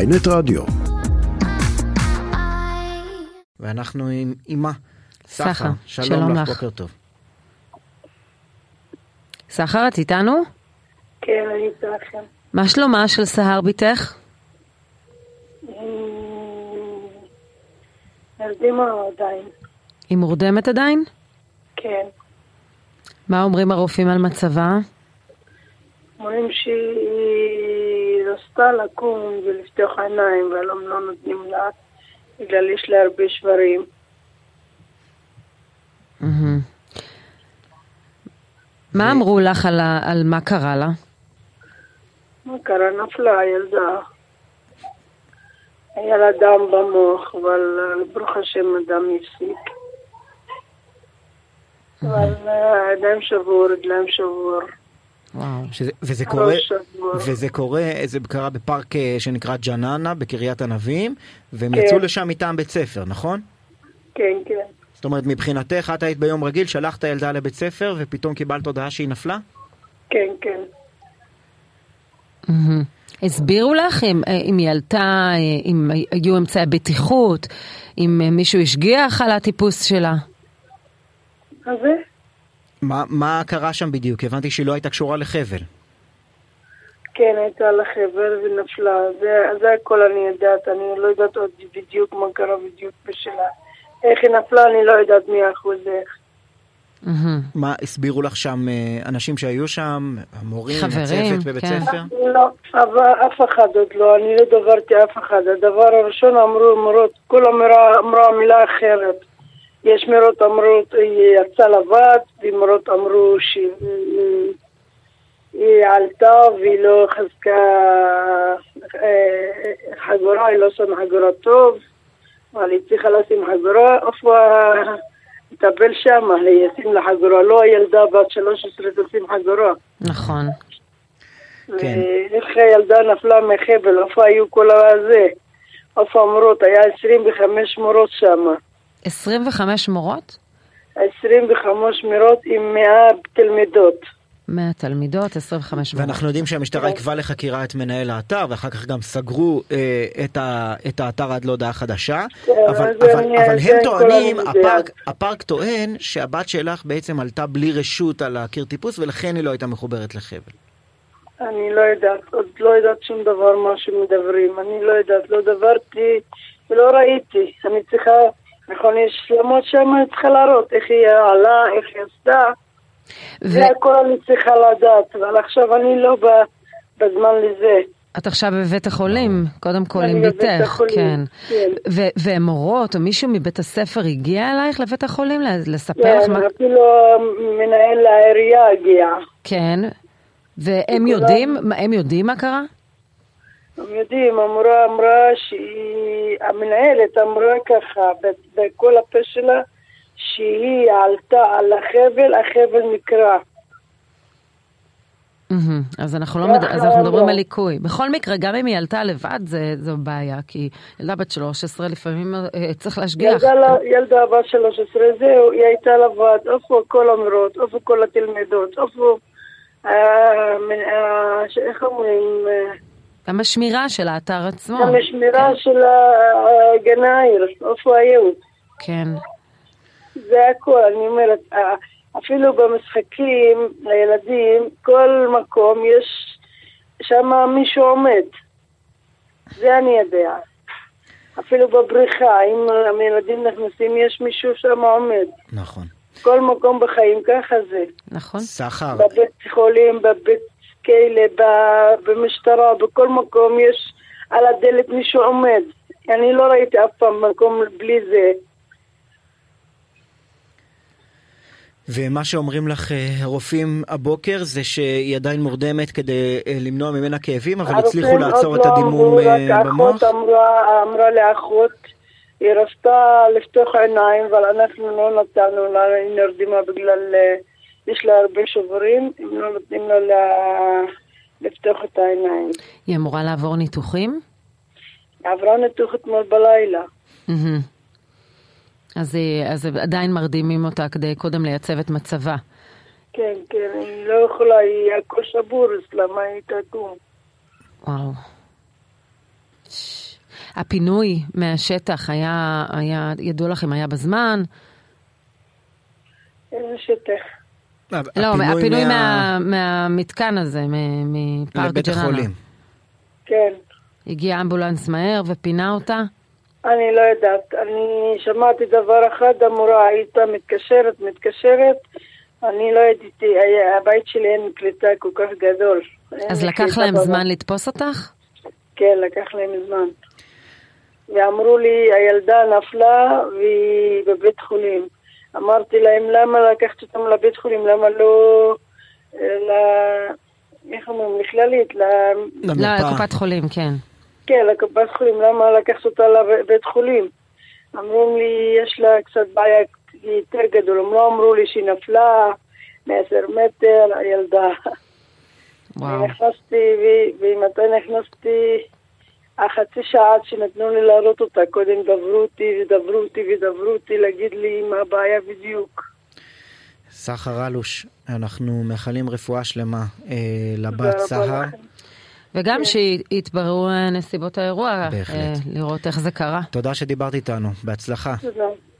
ynet רדיו. ואנחנו עם אימה. סחה, סחה, שלום שלום לך, לך. בוקר טוב. סחר, את איתנו? כן, אני איתה לכם. מה שלומה של סהר בתך? אמ, ילדים או עדיין? היא מורדמת עדיין? כן. מה אומרים הרופאים על מצבה? אומרים שהיא רצתה לקום ולפתוח עיניים, אבל הם לא נותנים לה, בגלל יש לה הרבה שברים. מהמם. מה אמרו לך על, ה... על מה קרה לה? מה קרה? נפלה הילדה. היה לה דם במוח, אבל אה, ברוך השם הדם הפסיק. אבל אה, הידיים שבור, רגליים שבור, וואו. שזה, וזה קורה, ראש שבור. וזה קורה, זה קרה בפארק אה, שנקרא ג'ננה בקריית ענבים, והם כן. יצאו לשם מטעם בית ספר, נכון? כן, כן. זאת אומרת, מבחינתך, את היית ביום רגיל, שלחת ילדה לבית ספר, ופתאום קיבלת הודעה שהיא נפלה? כן, כן. מהמם. הסבירו לך אם, אה, אם היא עלתה, אה, אם היו אמצעי בטיחות, אם אה, מישהו השגיח על הטיפוס שלה? מה זה? מה, מה קרה שם בדיוק? הבנתי שהיא לא הייתה קשורה לחבל. כן, הייתה על החבל ונפלה. זה, זה הכל אני יודעת, אני לא יודעת עוד בדיוק מה קרה בדיוק בשלה. איך היא נפלה, אני לא יודעת מאה אחוז איך. מהמם. מה הסבירו לך שם אה, אנשים שהיו שם, המורים, חברים, הצוות בבית כן. ספר? לא, אבל אף אחד עוד לא, אני לא דברתי אף אחד. הדבר הראשון אמרו מורות, כל אמירה אמרה מילה אחרת. יש מורות אמרו, היא יצאה לבד, ומורות אמרו שהיא היא- היא עלתה והיא לא חזקה אה, חגורה, היא לא שמה חגורה טוב, אבל היא צריכה לשים חגורה, איפה מטפל שם, היא ישים לה חגורה, לא הילדה בת 13 תשים חגורה. נכון. כן. איך הילדה נפלה מחבל, איפה היו כל הזה? איפה המורות? היה 25 מורות שם. 25 מורות? 25 מורות עם 100 תלמידות. 100 תלמידות, 25 מורות. ואנחנו יודעים שהמשטרה עיכבה לחקירה את מנהל האתר, ואחר כך גם סגרו אה, את, ה, את האתר עד להודעה חדשה. כן, אבל, אז אבל, אני- אבל זה הם כל טוענים, אני הפארק, יודעת. הפארק טוען שהבת שלך בעצם עלתה בלי רשות על הקיר טיפוס, ולכן היא לא הייתה מחוברת לחבל. אני לא יודעת, עוד לא יודעת שום דבר מה שמדברים. אני לא יודעת, לא דברתי ולא ראיתי. אני צריכה, נכון, יש למות שם, אני צריכה להראות איך היא עלה, איך היא עשתה. זה ואת הכל אני צריכה לדעת, אבל עכשיו אני לא ב- בזמן לזה. עכשיו בבית החולים, קודם כל נכון. אני עם בבית בתך, החולים, כן. כן. ו- ומורות או מישהו מבית הספר הגיע אלייך לבית החולים ל- לספר לך מה... כן, אפילו מנהל העירייה הגיע. כן. והם וכולם- יודעים, מה- הם יודעים מה קרה? הם יודעים, המורה אמרה שהיא, המנהלת אמרה ככה, ב- בכל הפה שלה, שהיא עלתה על החבל, החבל נקרע. מהמם. אז אנחנו לא לא, מד... אז לא, אנחנו לא. מדברים על ליקוי. בכל מקרה, גם אם היא עלתה לבד, זה, זו בעיה, כי ילדה בת 13 לפעמים אה, צריך להשגיח. ילדה לא- לה- ילדה בת 13, זהו, היא הייתה לבד, איפה כל המורות, איפה כל התלמידות, איפה... אה, מ- אה, ש- איך אומרים? אה, גם השמירה של האתר עצמו. גם השמירה של הגן העיר, איפה היו? כן. זה הכל, אני אומרת, אה, אפילו במשחקים לילדים, כל מקום יש שם מישהו עומד. זה אני יודע. אפילו בבריכה, אם הילדים נכנסים, יש מישהו שם עומד. נכון. כל מקום בחיים ככה זה. נכון? סחר, בבית חולים, בבית כלא, ב- במשטרה, בכל מקום יש על הדלת מישהו עומד. אני לא ראיתי אף פעם מקום בלי זה. ומה שאומרים לך אה, הרופאים הבוקר זה שהיא עדיין מורדמת כדי אה, למנוע ממנה כאבים, אבל הצליחו הרופאים לעצור עוד את לא הדימום אמרו, אה, רק במוח. אחות אמרה, אמרה לאחות, היא רצתה לפתוח עיניים, אבל אנחנו לא נתנו לה, היא נרדמה בגלל, אה, יש לה הרבה שוברים, הם לא נותנים לה ל- לפתוח את העיניים. היא אמורה לעבור ניתוחים? היא עברה ניתוח אתמול בלילה. מהמם. Mm-hmm. אז, היא- אז עדיין מרדימים אותה כדי קודם לייצב את מצבה. כן, כן, היא לא יכולה, היא הכל שבור אצלה, מה היא תקום? וואו. ש... הפינוי מהשטח היה, היה, ידוע לכם, היה בזמן? איזה שטח. לא, הפינוי מה... מהמתקן הזה, מ- מפארק לבית ג'ננה. החולים. כן. הגיע אמבולנס מהר ופינה אותה? אני לא יודעת, אני שמעתי דבר אחד, המורה הייתה מתקשרת, מתקשרת, אני לא ידעתי, היה- הבית שלי אין קליטה כל כך גדול. אז אין לקח קליטה להם בבית. זמן לתפוס אותך? כן, לקח להם זמן. ואמרו לי, הילדה נפלה והיא בבית חולים. אמרתי להם, למה לקחת אותם לבית חולים? למה לא... אה, ל... איך אומרים? לכללית, ל... למרפאה. לא, לקופת חולים, כן. כן, לקופת חולים, למה לקחת אותה לבית חולים? אמרו לי, יש לה קצת בעיה יותר גדול. הם לא אמרו לי שהיא נפלה מעשר מטר, הילדה. אה. וואו. נכנסתי, ו- ומתי נכנסתי? החצי שעה עד שנתנו לי להעלות אותה, קודם דברו אותי ודברו אותי ודברו אותי להגיד לי מה הבעיה בדיוק. סחר אלוש, אנחנו מאחלים רפואה שלמה אה, תודה לבת רבה סהר. לכם. וגם שיתבררו אה, נסיבות האירוע, בהחלט. אה, לראות איך זה קרה. תודה שדיברת איתנו, בהצלחה. תודה.